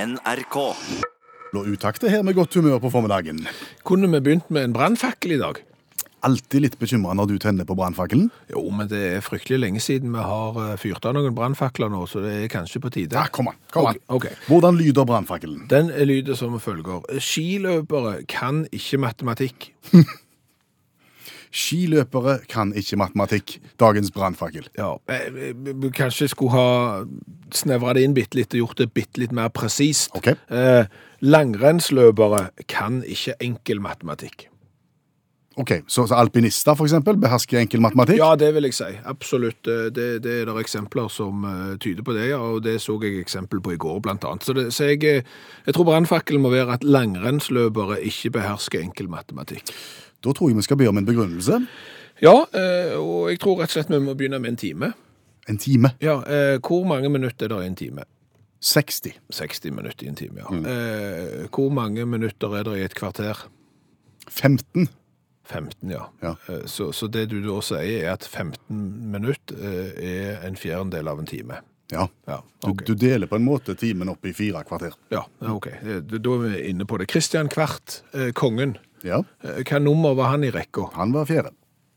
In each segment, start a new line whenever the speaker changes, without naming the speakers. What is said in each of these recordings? NRK.
Blå utakter her med godt humør på formiddagen.
Kunne vi begynt med en brannfakkel i dag?
Alltid litt bekymra når du tenner på brannfakkelen.
Jo, men det er fryktelig lenge siden vi har eh, fyrt av noen brannfakler nå, så det er kanskje på tide.
Ja, kom an. kom an.
Ok, ok.
Hvordan lyder brannfakkelen?
Den lyder som følger. Skiløpere kan ikke matematikk.
Skiløpere kan ikke matematikk. Dagens brannfakkel.
Ja, eh, eh, kanskje jeg skulle ha snevra det inn bitte litt og gjort det bitte litt mer presist.
Ok.
Eh, langrennsløpere kan ikke enkel matematikk.
Ok, Så, så alpinister for eksempel, behersker enkel matematikk?
Ja, det vil jeg si. Absolutt. Eh, Det, det er der eksempler som eh, tyder på det, ja, og det så jeg eksempel på i går, blant annet. Så, det, så jeg, eh, jeg tror brannfakkelen må være at langrennsløpere ikke behersker enkel matematikk.
Da tror jeg vi skal be om en begrunnelse.
Ja, eh, og jeg tror rett og slett vi må begynne med en time.
En time.
Ja, eh, Hvor mange minutter er det i en time?
60.
60 minutter i en time, ja. Eh, Hvor mange minutter er det i et kvarter?
15.
15, ja.
Ja.
Eh, Så, så det du da sier er at 15 minutter er en fjerdedel av en time.
Ja.
Ja,
Du,
ok.
du deler på en måte timen opp i fire kvarter.
Ja, ok. Eh, Da er vi inne på det. Kristian Kvart, eh, kongen.
Ja.
Eh, Hva nummer var han i rekka?
Han var fjerde.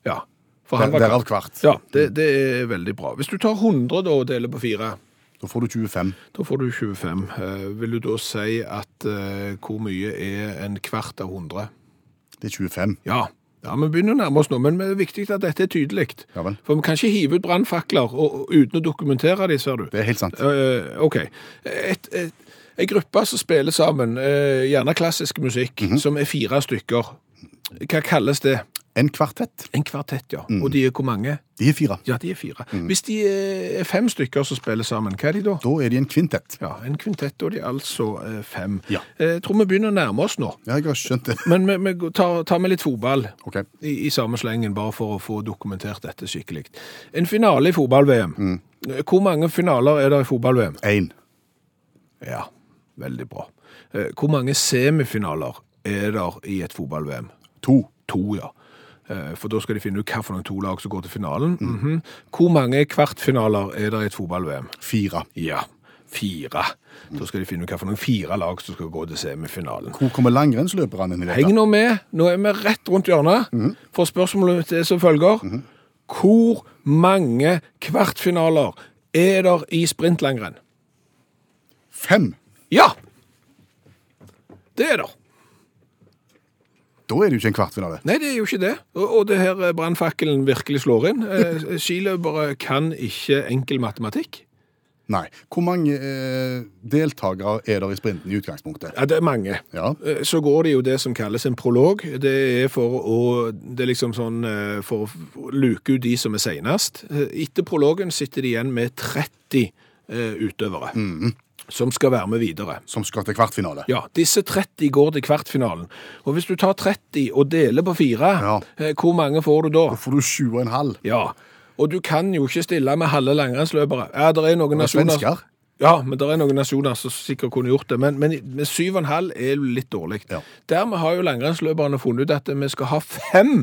Ja, for
Der-
han var
Derav
kvart.
kvart.
Ja, det, det er veldig bra. Hvis du tar 100 da og deler på 4,
Da får du 25.
da får du 25. Eh, Vil du da si at eh, hvor mye er en kvart av 100?
Det er 25.
Ja, ja vi begynner å nærme oss nå, men det er viktig at dette er tydelig.
Ja vel.
For vi kan ikke hive ut brannfakler og- og uten å dokumentere de, ser du.
Det er helt sant.
Eh, ok. Et, et, en gruppe som spiller sammen, eh, gjerne klassisk musikk, som er fire stykker. Hva kalles det?
En kvartett.
En kvartett, ja. Mm. Og de er hvor mange?
De er fire.
Ja, de er fire. Hvis de eh, er fem stykker som spiller sammen, hva er de da?
Da er de en kvintett.
Ja, en kvintett, og de er altså eh, fem.
Ja.
Eh, Jeg tror vi begynner å nærme oss nå.
Ja, jeg har skjønt det.
Men vi, vi går- tar, tar med litt fotball
Ok.
i, i samme slengen, bare for å få dokumentert dette skikkelig. En finale i fotball-VM. Eh, Hvor mange finaler er det i fotball-VM?
Én.
Ja, veldig bra. Eh, Hvor mange semifinaler er der i et fotball-VM?
To.
To, ja. Eh, For da skal de finne ut hva for noen to lag som går til finalen. Mhm. Hvor mange kvartfinaler er der i et fotball-VM?
Fire.
Ja, fire. Da skal de finne ut hva for noen fire lag som skal gå til semifinalen.
Hvor kommer langrennsløperne inn i dette?
Heng nå med, nå er vi rett rundt hjørnet,
Mhm.
for spørsmålet mitt er som følger. Hvor mange kvartfinaler er der i sprintlangrenn?
Fem!
Ja! Det er der.
Da er det jo ikke en kvartfinale.
Nei, det er jo ikke det. Og og det her eh, brannfakkelen virkelig slår inn. Eh, Skiløpere kan ikke enkel matematikk.
Nei. Hvor mange eh, deltakere er det i sprinten i utgangspunktet?
Ja, det er mange.
Ja.
Eh, Så går det jo det som kalles en prolog. Det er for å, det er liksom sånn, eh, for å luke ut de som er senest. Eh, Etter prologen sitter de igjen med 30 eh, utøvere som skal være med videre.
Som skal til kvartfinale?
Ja, disse 30 går til kvartfinalen. Og hvis du tar 30 og deler på fire,
Ja.
eh, hvor mange får du da?
Da får du sju og en halv.
Ja, og du kan jo ikke stille med halve langrennsløpere. Ja, det er noen
Og
nasjoner...
svensker.
Ja, men det er noen nasjoner som sikkert kunne gjort det, men, men med syv og en halv er det litt dårlig.
Ja.
Dermed har jo langrennsløperne funnet ut at vi skal ha fem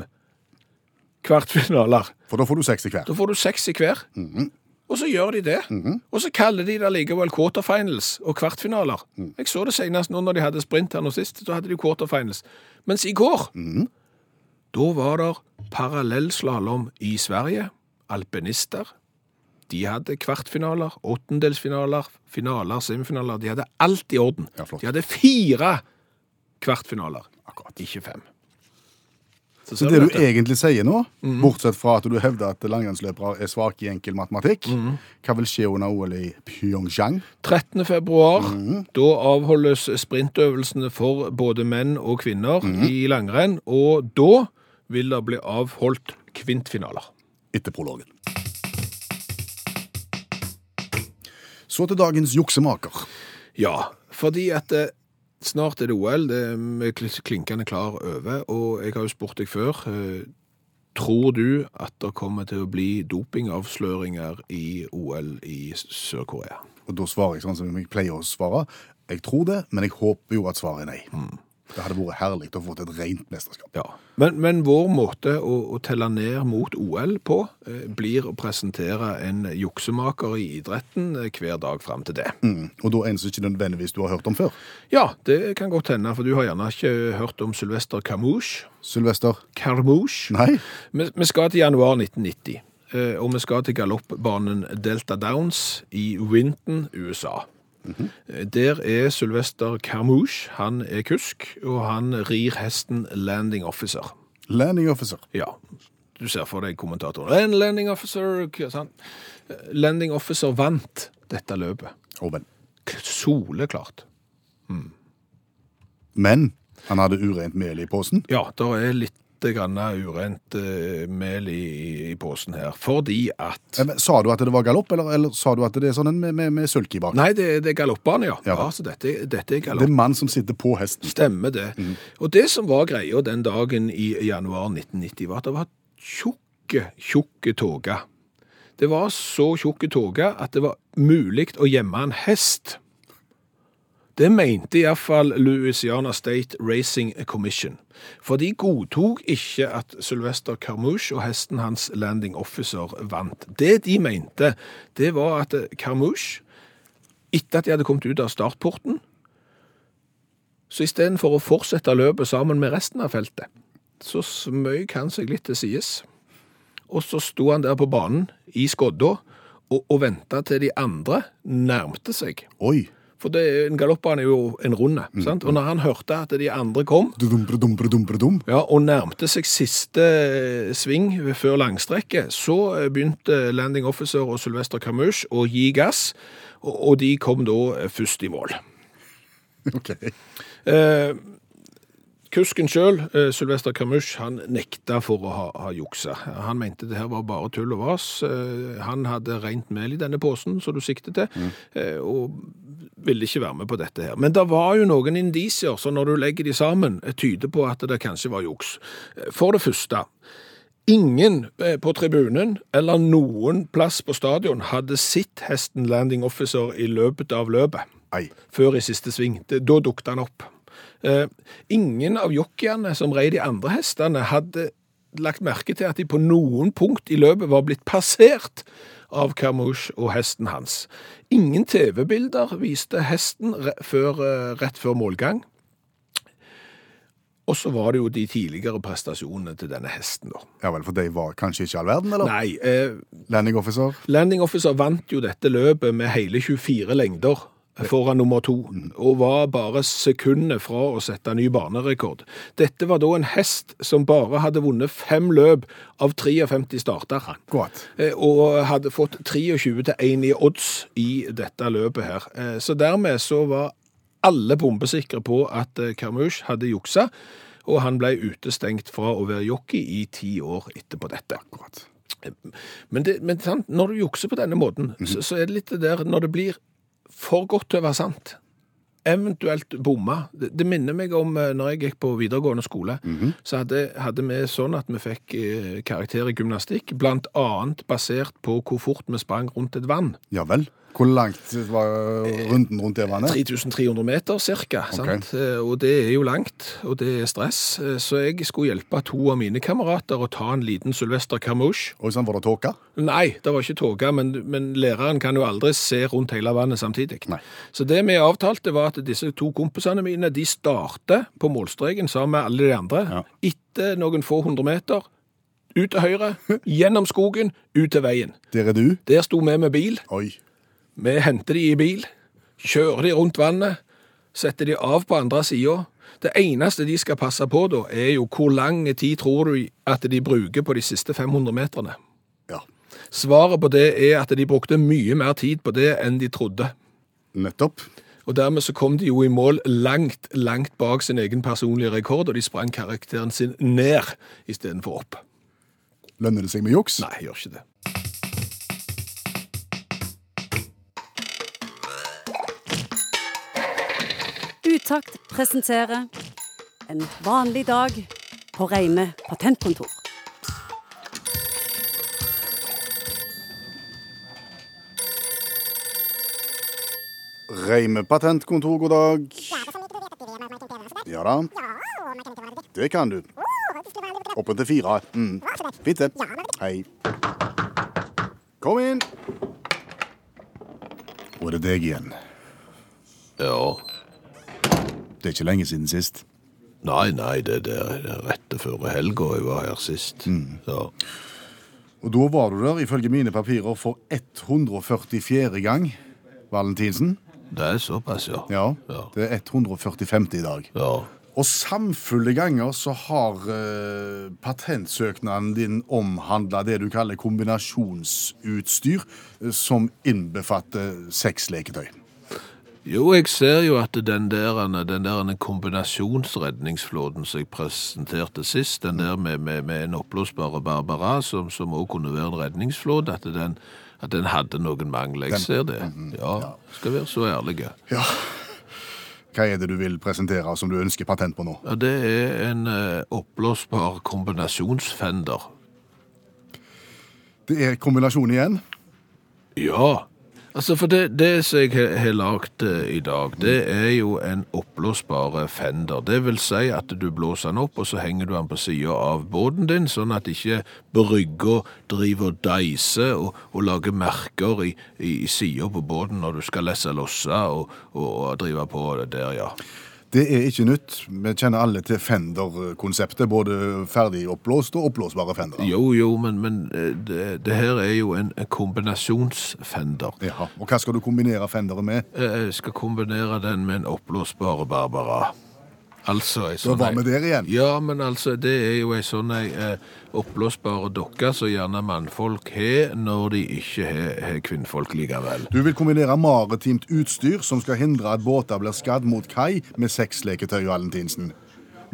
kvartfinaler.
For da får du seks i hver. Mhm.
Da får du seks i hver. Og så gjør de det. Og så kaller de det likevel quarterfinals og kvartfinaler.
Mhm.
Jeg så det senest nå når de hadde sprint her nå sist, så hadde de quarterfinals. Mens i går,
Mhm.
da var det parallellslalom i Sverige. Alpinister. De hadde kvartfinaler, åttendelsfinaler, finaler, semifinaler. De hadde alt i orden.
Ja, flott.
de hadde fire kvartfinaler,
Akkurat.
ikke fem.
Så
ser
det Mhm. du
dette.
egentlig sier nå, bortsett fra at du hevder at langrennsløpere er svake i enkel matematikk, hva vil skje under OL i Pyeongchang?
13. februar, da avholdes sprintøvelsene for både menn og kvinner i langrenn, og da vil det bli avholdt kvintfinaler.
etter prologen. Så til dagens juksemaker.
Ja, fordi at eh, snart er det OL, det er vi kl- klinkende klar over, og jeg har jo spurt deg før, eh, tror du at det kommer til å bli dopingavsløringer i OL i Sør-Korea? Mm.
Og da svarer jeg sånn som jeg pleier å svare. Jeg tror det, men jeg håper jo at svaret er nei. Det hadde vært herlig å få til et rent mesterskap.
Ja. Men, men vår måte å, å telle ned mot OL på eh, blir å presentere en juksemaker i idretten eh, hver dag fram til det.
Mm. Og da en som ikke nødvendigvis du har hørt om før.
Ja, det kan godt hende, for du har gjerne ikke hørt om Sylvester Carmouche.
Sylvester?
Carmouche.
Nei?
Vi, vi skal til januar 1990, eh, og vi skal til galoppbanen Delta Downs i Winton, USA.
Mhm.
Eh, Der er Sylvester Carmouche, han er kusk, og han rir hesten Landing Officer.
Landing officer.
Ja, du ser for deg kommentatoren. En landing officer, k- sant? Eh, Landing officer vant dette løpet.
Å, men.
K- Soleklart.
men han hadde urent mel i posen.
Ja, det er litt grann urent eh, mel i, i posen her, fordi at...
Eh, men Sa du at det var galopp, eller, eller sa du at det er sånn en med, med, med sulk i bak?
Nei, det, det er galoppbane, ja.
Ja.
Ja, så dette, dette er
Det
galopp.
er en mann som sitter på hesten.
Stemmer det. Og det som var greia den dagen i januar 1990, var at det var tjukke, tjukke toga. Det var så tjukke toga at det var mulig å gjemme en hest. Det mente iallfall Louisiana State Racing Commission. For de godtok ikke at Sylvester Carmouche og hesten hans Landing Officer vant. Det de mente, det var at Carmouche, etter at de hadde kommet ut av startporten, så istedenfor å fortsette løpet sammen med resten av feltet, så smøg han seg litt til sides. Og så sto han der på banen i skodda og, og venta til de andre nærmte seg.
Oi!
For det, er- en galoppbane er jo en runde. sant? Og når han hørte at de andre kom,
Dudum, brudum, brudum, brudum.
ja, og nærmte seg siste eh, sving før langstrekket, så eh, begynte Landing Officer og Sylvester Carmouche å gi gass, og, og de kom da eh, først i mål.
Ok.
Eh, kusken sjøl, eh, Sylvester Carmouche, han nekta for å ha, ha juksa. Han mente det her var bare tull og vas. Eh, han hadde rent mel i denne posen, som du sikter til, eh, og ville ikke være med på dette her. Men det var jo noen indisier, så når du legger de sammen, eh, tyder på at det kanskje var juks. Eh, For det første, Ingen eh, på tribunen eller noen plass på stadion hadde sett hesten Landing Officer i løpet av løpet
Ei.
før i siste sving. Det- Da dukte han opp. Eh, ingen av jockeyene som rei de andre hestene, hadde lagt merke til at de på noen punkt i løpet var blitt passert av Carmouche og hesten hans. Ingen TV-bilder viste hesten re før, eh, rett før målgang. Og så var det jo de tidligere prestasjonene til denne hesten, da.
Ja vel, for de var kanskje ikke all verden, eller?
Nei, eh,
Landing officer?
Landing Officer vant jo dette løpet med hele 24 lengder foran nummer to, og var bare sekundet fra å sette ny banerekord. Dette var da en hest som bare hadde vunnet fem løp av 53 starter,
Godt.
eh, og hadde fått 23 til 1 i odds i dette løpet her. Eh, Så dermed så var alle bombesikre på at eh, Carmouche hadde juksa, og han ble utestengt fra å være jockey i ti år etterpå dette.
Godt.
Men, det, men sant? når du jukser på denne måten, så, så er det litt det der når det blir for godt til å være sant. Eventuelt bomma. Det, det minner meg om eh, når jeg gikk på videregående skole. Så hadde, hadde vi sånn at vi fikk eh, karakter i gymnastikk, blant annet basert på hvor fort vi sprang rundt et vann.
Ja vel. Hvor langt var runden rundt det vannet?
3300 meter cirka, sant? Eh, og det er jo langt, og det er stress. Eh, Så jeg skulle hjelpe to av mine kamerater å ta en liten Sylvester Carmouche.
Oi sann, var det tåke?
Nei, det var ikke tåke, men, men læreren kan jo aldri se rundt hele vannet samtidig.
Nei.
Så det vi avtalte var at disse to kompisene mine, de starter på målstreken sammen med alle de andre.
Ja.
Etter noen få hundre meter, ut til høyre, gjennom skogen, ut til veien.
Der er du.
Der sto vi med bil,
Oi.
vi henter de i bil, kjører de rundt vannet, setter de av på andre sida. Det eneste de skal passe på da, er jo hvor lang tid tror du at de bruker på de siste 500 meterne.
Ja.
Svaret på det er at de brukte mye mer tid på det enn de trodde.
Nettopp.
Og dermed så kom de jo i mål langt, langt bak sin egen personlige rekord, og de sprang karakteren sin ned istedenfor opp.
Lønner det seg med juks?
Nei, gjør ikke det.
Utakt presenterer En vanlig dag på Reime patentkontor.
Reime patentkontor, god dag. Ja da. Det kan du. Oppe til fire. Mm. Fint, det. Hei. Kom inn. Og det er deg igjen.
Ja.
Det er ikke lenge siden sist.
Nei, nei, det det er rett før helga jeg var her sist. Ja.
Og da var du der, ifølge mine papirer, for 144. gang. Valentinsen?
Det er såpass, ja.
Ja.
Ja.
Det er 145. i dag.
Ja.
Og samfulle ganger så har eh, patentsøknaden din omhandla det du kaller kombinasjonsutstyr, eh, som innbefatter seks leketøy.
Jo, jeg ser jo at den der, den der kombinasjonsredningsflåten som jeg presenterte sist, den der med, med, med en oppblåsbar Barbara, som, som også kunne være en redningsflåt, at den, at den hadde noen mangler. Jeg ser det. Ja, skal være så ærlige.
Ja. Hva er det du vil presentere som du ønsker patent på nå?
Ja, det er en eh, oppblåsbar kombinasjonsfender.
Det er kombinasjon igjen.
Ja. Altså, for det, det som jeg har- har lagd eh, i dag, det er jo en oppblåsbar fender. Det vil si at du blåser den opp, og så henger du den på sida av båten din, sånn at ikke brygga driver og deiser og, og lager merker i, i, i sida på båten når du skal lesse losse og, og, og drive på der, ja.
Det er ikke nytt. Vi kjenner alle til Fender-konseptet. Både ferdig oppblåst og oppblåsbare Fender.
Jo, jo, men, men eh, det, det her er jo en en kombinasjonsfender.
Ja. Og hva skal du kombinere Fenderen med?
Eh, Jeg skal kombinere den med en oppblåsbar Barbara. Altså, ei
Da
sånn
var vi
ei-
der igjen.
Ja, men altså, det er jo ei sånn ei eh, oppblåsbar dokke som gjerne mannfolk har når de ikke har- har kvinnfolk likevel.
Du vil kombinere maritimt utstyr som skal hindre at båter blir skadd mot kai, med sexleketøy, Valentinsen.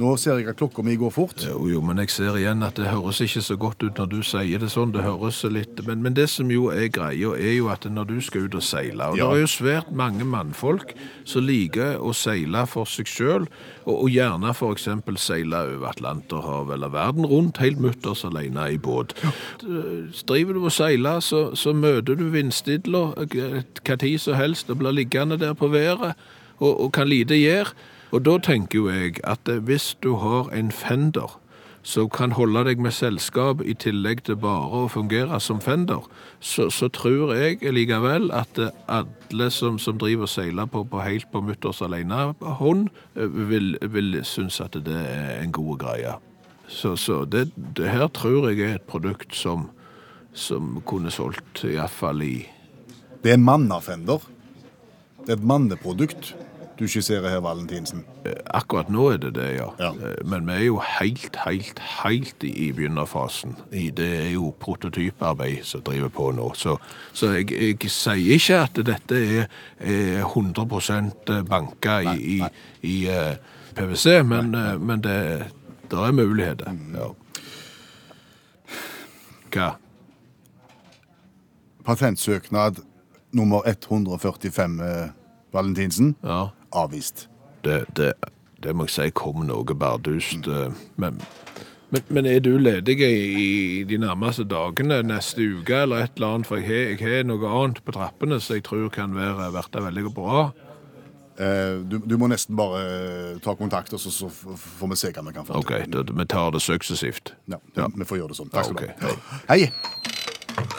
Nå ser jeg at klokka mi går fort.
Eh, Jo, jo, men jeg ser igjen at det høres ikke så godt ut når du sier det sånn. Det høres litt Men, men det som jo er greia, er jo at når du skal ut og seile Og
Ja.
det er jo svært mange mannfolk som liker å seile for seg sjøl, og, og gjerne f.eks. seile over Atlanterhavet eller verden rundt helt mutters alene i båt. Så Driver du og seiler, så, så møter du vindstidler hva tid som helst og blir liggende der på været og, og kan lite gjøre. Og da tenker jo jeg at eh, hvis du har en fender som kan holde deg med selskap i tillegg til bare å fungere som fender, så, så tror jeg likevel at eh, alle som, som driver og seiler på, på helt på mutters alene hånd, eh, vil, vil synes at det er en god greie. Så, så det, det her tror jeg er et produkt som, som kunne solgt i hvert fall i
Det er en mannafender. Det er et manneprodukt du skisserer her, Valentinsen.
Akkurat nå er det det, ja.
Ja.
Eh, Men vi er jo helt, helt, helt i i begynnerfasen. I- Det er jo prototyparbeid som driver på nå. Så, så jeg, jeg sier ikke at dette er, er 100 banka i, i, i eh, PwC, men, eh, men det, der er muligheter. Ja. Hva?
Patentsøknad nummer 145, eh, Valentinsen.
Ja.
Avvist.
Det, det, det må jeg si kom noe bardust. eh, Men, men, men er du ledig i de nærmeste dagene neste uke eller et eller annet? For jeg har, jeg har noe annet på trappene som jeg tror kan være vært det veldig bra.
Eh, du, du må nesten bare eh, ta kontakt, og så, så f- f- får vi se hva vi kan få
OK, da, vi tar det suksessivt.
Ja, Vi får gjøre det sånn. Takk skal du
Ja,
ha. Hei.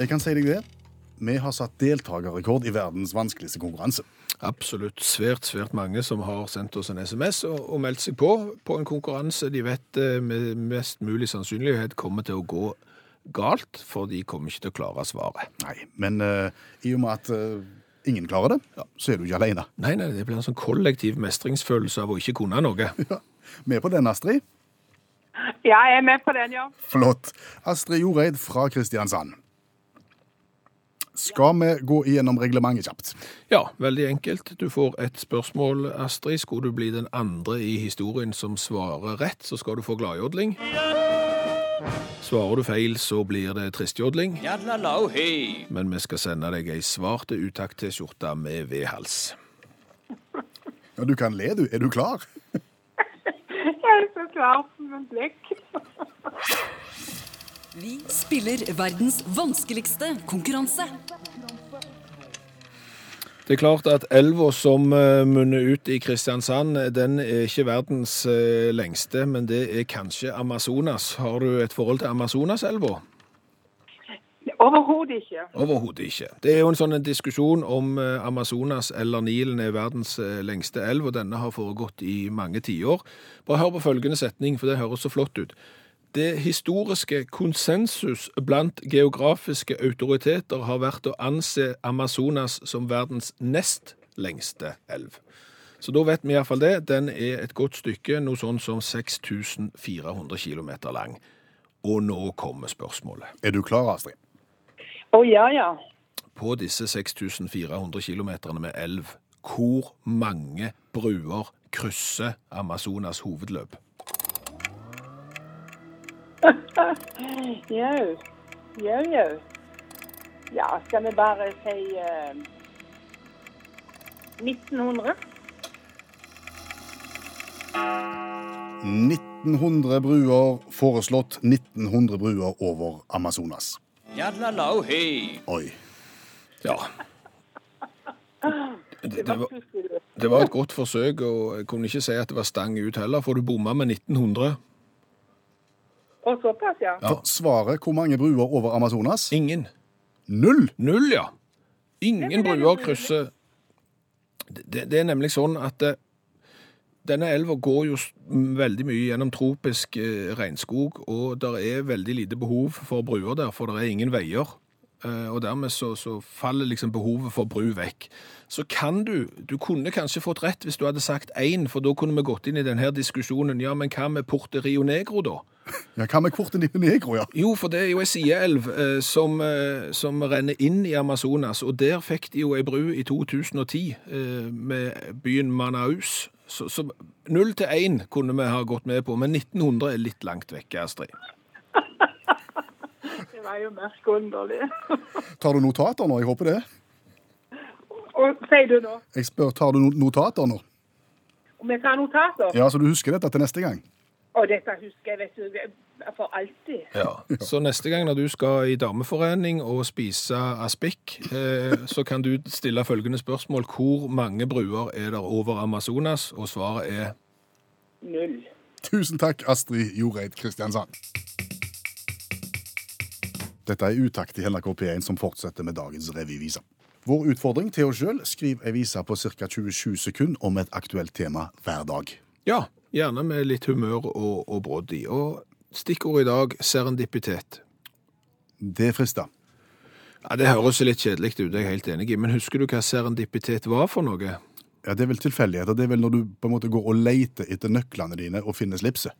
Jeg kan si deg det. Vi har satt deltakerrekord i verdens vanskeligste konkurranse.
Absolutt svært, svært mange som har sendt oss en SMS og, og meldt seg på på en konkurranse de vet eh, med mest mulig sannsynlighet kommer til å gå galt, for de kommer ikke til å klare svaret.
Nei, men eh, i og med at eh, ingen klarer det, så er du ikke alene.
Nei, nei, det blir en sånn kollektiv mestringsfølelse av å ikke kunne noe.
Ja. Vi er på den, Astrid.
Ja, jeg er med på den, ja.
Flott. Astrid Joreid fra Kristiansand. Skal vi gå igjennom reglementet kjapt?
Ja, veldig enkelt. Du får et spørsmål, Astrid. Skulle du bli den andre i historien som svarer rett, så skal du få gladjodling. Svarer du feil, så blir det tristjodling. Men vi skal sende deg ei svarte utakt-T-skjorte med V-hals.
Ja, du kan le, du. Er du klar?
Jeg er så klar som en blekk.
Vi spiller verdens vanskeligste konkurranse.
Det er klart at elva som eh, munner ut i Kristiansand, eh, den er ikke verdens eh, lengste, men det er kanskje Amazonas. Har du et forhold til Amazonaselva?
Overhodet ikke.
Overhodet ikke. Det er jo en sånn en diskusjon om eh, Amazonas eller Nilen er verdens eh, lengste elv, og denne har foregått i mange tiår. Bare hør på følgende setning, for det høres så flott ut. Det historiske konsensus blant geografiske autoriteter har vært å anse Amazonas som verdens nest lengste elv. Så da vet vi iallfall det. Den er et godt stykke, noe sånn som 6400 km lang. Og nå kommer spørsmålet.
Er du klar, Astrid?
Å ja, ja.
på disse 6400 kilometerne med elv, hvor mange bruer krysser Amazonas hovedløp?
Jau. Jau, jau. Ja, skal vi bare si eh, 1900?
1900 bruer foreslått. 1900 bruer over Amazonas.
Yadlalau hei.
Oi.
Ja. Det, det, var,
plutselig det.
det var et godt forsøk, og jeg kunne ikke si at det var stang ut heller, for du bomma med 1900.
Og såpass, ja.
For svaret hvor mange bruer over Amazonas?
Ingen.
Null!
Null, ja. Ingen bruer krysser det, det er nemlig sånn at eh, denne elva går jo s- m, veldig mye gjennom tropisk eh, regnskog, og det er veldig lite behov for bruer der, for det er ingen veier. Eh, og dermed så, så faller liksom behovet for bru vekk. Så kan du Du kunne kanskje fått rett hvis du hadde sagt én, for da kunne vi gått inn i denne diskusjonen. Ja, men hva med Porte Rio Negro, da?
Ja, Hva med kortet ditt negro, ja?
Jo, for det er jo ei sideelv eh, som, eh, som renner inn i Amazonas, og der fikk de jo ei bru i 2010 eh, med byen Manaus. Så, så null til én kunne vi ha gått med på, men 1900 er litt langt vekk, Astrid.
Det var jo mørkt og underlig.
Tar du notater nå? Jeg håper det.
Og sier du nå?
Jeg spør, tar du no- notater nå?
Om jeg tar notater?
Ja, Så du husker dette til neste gang?
Og dette husker jeg, vet du, for alltid.
Ja. Så neste gang når du skal i dameforening og spise aspik, eh, så kan du stille følgende spørsmål. Hvor mange bruer er der over Amazonas? Og svaret er
Null.
Tusen takk, Astrid Joreid Kristiansand. Dette er utakt i NRK P1 som fortsetter med dagens revyvise. Vår utfordring til oss sjøl skriv ei vise på ca. 27 sekunder om et aktuelt tema hver dag.
Ja, gjerne med litt humør og, og brodd i. Og stikkord i dag serendipitet.
Det frister.
Ja, Det høres litt kjedelig ut, det er jeg helt enig i. Men husker du hva serendipitet var for noe?
Ja, Det er vel tilfeldigheter. Det er vel når du på en måte går og leter etter nøklene dine og finner slipset,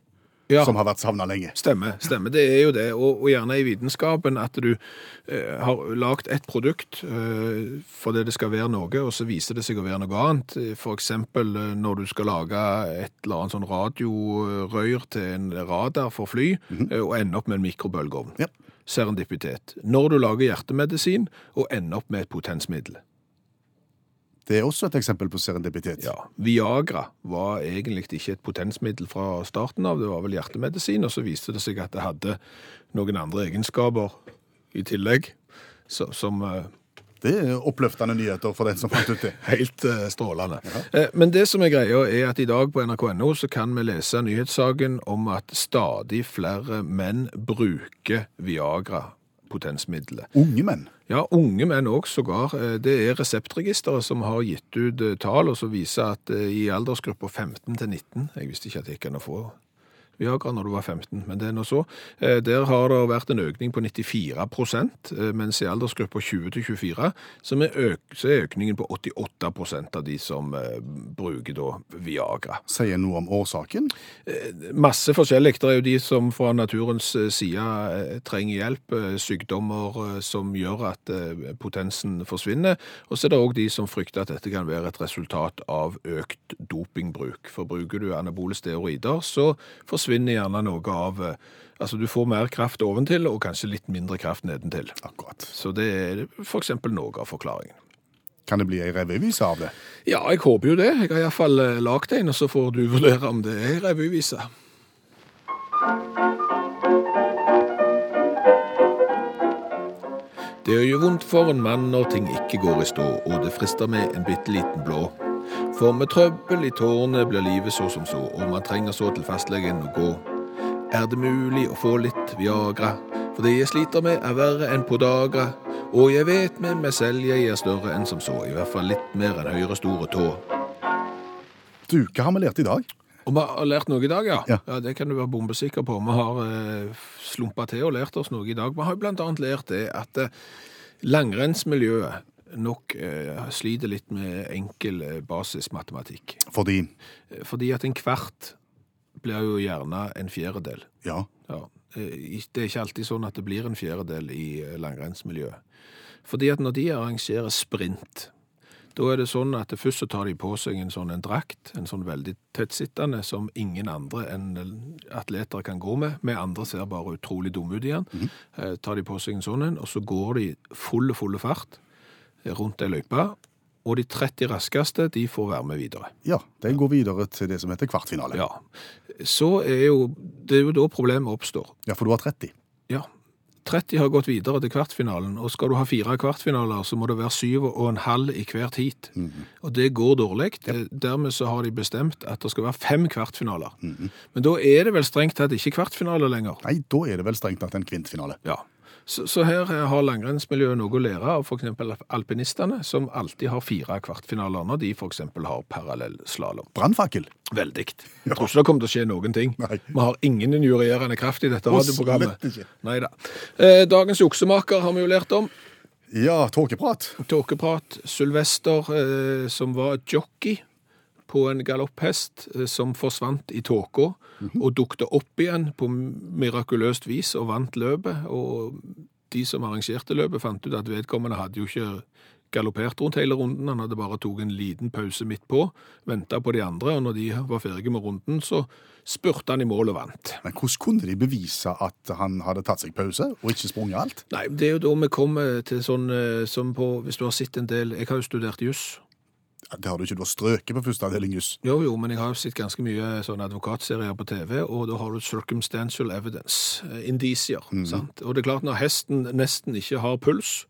Ja,
som har vært savna lenge.
Stemmer, stemmer. Det er jo det. Og, og gjerne i vitenskapen at du eh, har lagd et produkt eh, fordi det skal være noe, og så viser det seg å være noe annet. For eksempel eh, når du skal lage et eller annet sånn radiorør til en radar for fly, eh, og ende opp med en mikrobølgeovn.
Ja.
Serendipitet. Når du lager hjertemedisin og ender opp med et potensmiddel.
Det er også et eksempel på serendipitet.
Ja, Viagra var egentlig ikke et potensmiddel fra starten av, det var vel hjertemedisin, og så viste det seg at det hadde noen andre egenskaper i tillegg, så, som eh,
Det er oppløftende nyheter for den som fant ut det.
Helt eh, strålende. Eh, Men det som er greia, er at i dag på nrk.no så kan vi lese nyhetssaken om at stadig flere menn bruker Viagra-potensmiddelet.
Unge menn.
Ja, unge menn òg sågar. Eh, Det er Reseptregisteret som har gitt ut eh, tall og som viser at eh, i aldersgruppa 15 til 19 Jeg visste ikke at det gikk an å få Viagra når du var 15, men det er nå så. Eh, Der har det vært en økning på 94 eh, mens i aldersgruppa 20 til 24 så er, øk, så er økningen på 88 av de som eh, bruker da Viagra.
Sier noe om årsaken.
Masse forskjellig. Det er jo de som fra naturens eh, side eh, trenger hjelp, eh, sykdommer eh, som gjør at eh, potensen forsvinner. Og så er det òg de som frykter at dette kan være et resultat av økt dopingbruk. For bruker du anabole steroider, så forsvinner gjerne noe av eh, Altså, du får mer kraft oventil, og kanskje litt mindre kraft nedentil.
Akkurat.
Så det er f.eks. noe av forklaringen.
Kan det bli ei revyvise av det?
Ja, jeg håper jo det. Jeg har iallfall eh, lagd en, og så får du vurdere om det er revyvise. Det gjør jo vondt for en mann når ting ikke går i stå, og det frister med en bitte liten blå. For med trøbbel i tårnet blir livet så som så, og man trenger så til fastlegen å gå. Er det mulig å få litt Viagra? For det jeg sliter med er verre enn Podagra. Og jeg vet med meg selv jeg er større enn som så, i hvert fall litt mer enn høyre store tå.
Du, hva har vi lært i dag?
Og vi har lært noe i dag, ja.
Ja.
ja. Det kan du være bombesikker på. Vi har eh, slumpa til og lært oss noe i dag. Vi har jo blant annet lært det at eh, langrennsmiljøet nok eh, sliter litt med enkel eh, basismatematikk.
Fordi
Eh, Fordi at en kvart blir jo gjerne en fjerdedel.
Ja.
Ja. Eh, Det er ikke alltid sånn at det blir en fjerdedel i eh, langrennsmiljøet. Fordi at når de arrangerer sprint, da er det sånn at det først så tar de på seg en sånn en drakt, en sånn veldig tettsittende, som ingen andre enn eh, atleter kan gå med. Vi andre ser bare utrolig dumme ut i den. Eh, Tar de på seg en sånn en, og så går de fulle, fulle fart eh, rundt ei løype. Og de 30 raskeste, de får være med videre.
ja. De går videre til det som heter kvartfinale.
Ja. Så er jo Det er jo da problemet oppstår.
Ja, for du har 30.
Ja. 30 har gått videre til kvartfinalen, og skal du ha fire kvartfinaler, så må det være syv og en halv i hvert heat. Og det går dårlig. Eh, Dermed så har de bestemt at det skal være fem kvartfinaler. Men da er det vel strengt tatt ikke kvartfinaler lenger.
Nei, da er det vel strengt tatt en kvintfinale.
Ja. Så, så her eh, har langrennsmiljøet noe å lære av f.eks. alpinistene, som alltid har fire kvartfinaler når de f.eks. har parallellslalåm.
Brannfakkel.
Veldig. Jeg tror ikke det kommer til å skje noen ting.
Nei.
Vi har ingen injurierende kraft i dette
Og
radioprogrammet.
slett ikke.
Neida. Eh, Dagens juksemaker har vi jo lært om.
Ja, tåkeprat.
Tåkeprat. Sylvester, eh, som var jockey på en galopphest, eh, som forsvant i tåka og dukte opp igjen på mirakuløst vis og vant løpet. Og de som arrangerte løpet, fant ut at vedkommende hadde jo ikke galoppert rundt hele runden. Han hadde bare tatt en liten pause midt på, venta på de andre, og når de var ferdige med runden, så spurte han i mål og vant.
Men hvordan kunne de bevise at han hadde tatt seg pause og ikke sprunget alt?
Nei, det er jo da vi kommer til sånn eh, som på Hvis du har sett en del Jeg har jo studert juss.
Ja, Det har du ikke, du har strøket på første avdeling juss.
Jo, jo, men jeg har jo sett ganske mye sånne advokatserier på TV, og da har du circumstantial evidence, eh, indisier, sant? Og det er klart, når hesten nesten ikke har puls,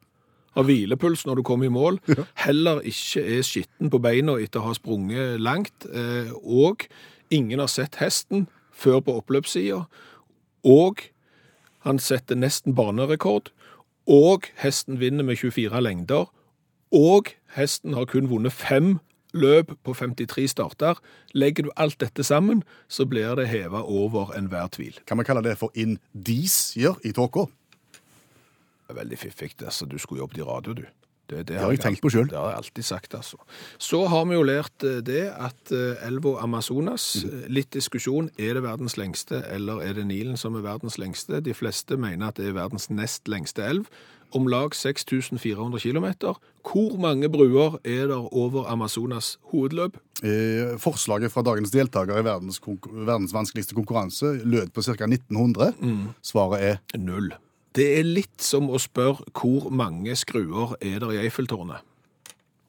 har hvilepuls når du kommer i mål, heller ikke er skitten på beina etter å ha sprunget langt, eh, og ingen har sett hesten før på oppløpssida, og han setter nesten banerekord, og hesten vinner med 24 lengder, og hesten har kun vunnet fem løp på 53 starter. Legger du alt dette sammen, så blir det heva over enhver tvil.
Kan vi kalle det for indisier i tåka?
Det er Veldig fiffig. Altså, du skulle jobbet i radio, du. Det, det
har jeg tenkt på selv.
Det har jeg alltid sagt, altså. Så har vi jo lært eh, det at eh, elva Amazonas
Mhm.
eh, Litt diskusjon. Er det verdens lengste, eller er det Nilen som er verdens lengste? De fleste mener at det er verdens nest lengste elv. Om lag 6400 km. Hvor mange bruer er der over Amazonas hovedløp?
Eh, forslaget fra dagens deltaker i verdens, konkur- verdens vanskeligste konkurranse lød på ca. 1900.
Mm.
Svaret er
Null. Det er litt som å spørre hvor mange skruer er der i Eiffeltårnet.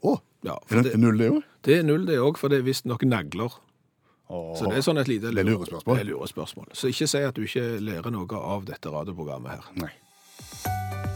Å,
Ja,
er
for
det
det,
null, det òg?
det er null det òg, for det er visstnok nagler. Så det er sånn et lite
Det er
lure-
lurespørsmål.
det er lurespørsmål. Så ikke si at du ikke lærer noe av dette radioprogrammet her.
Nei.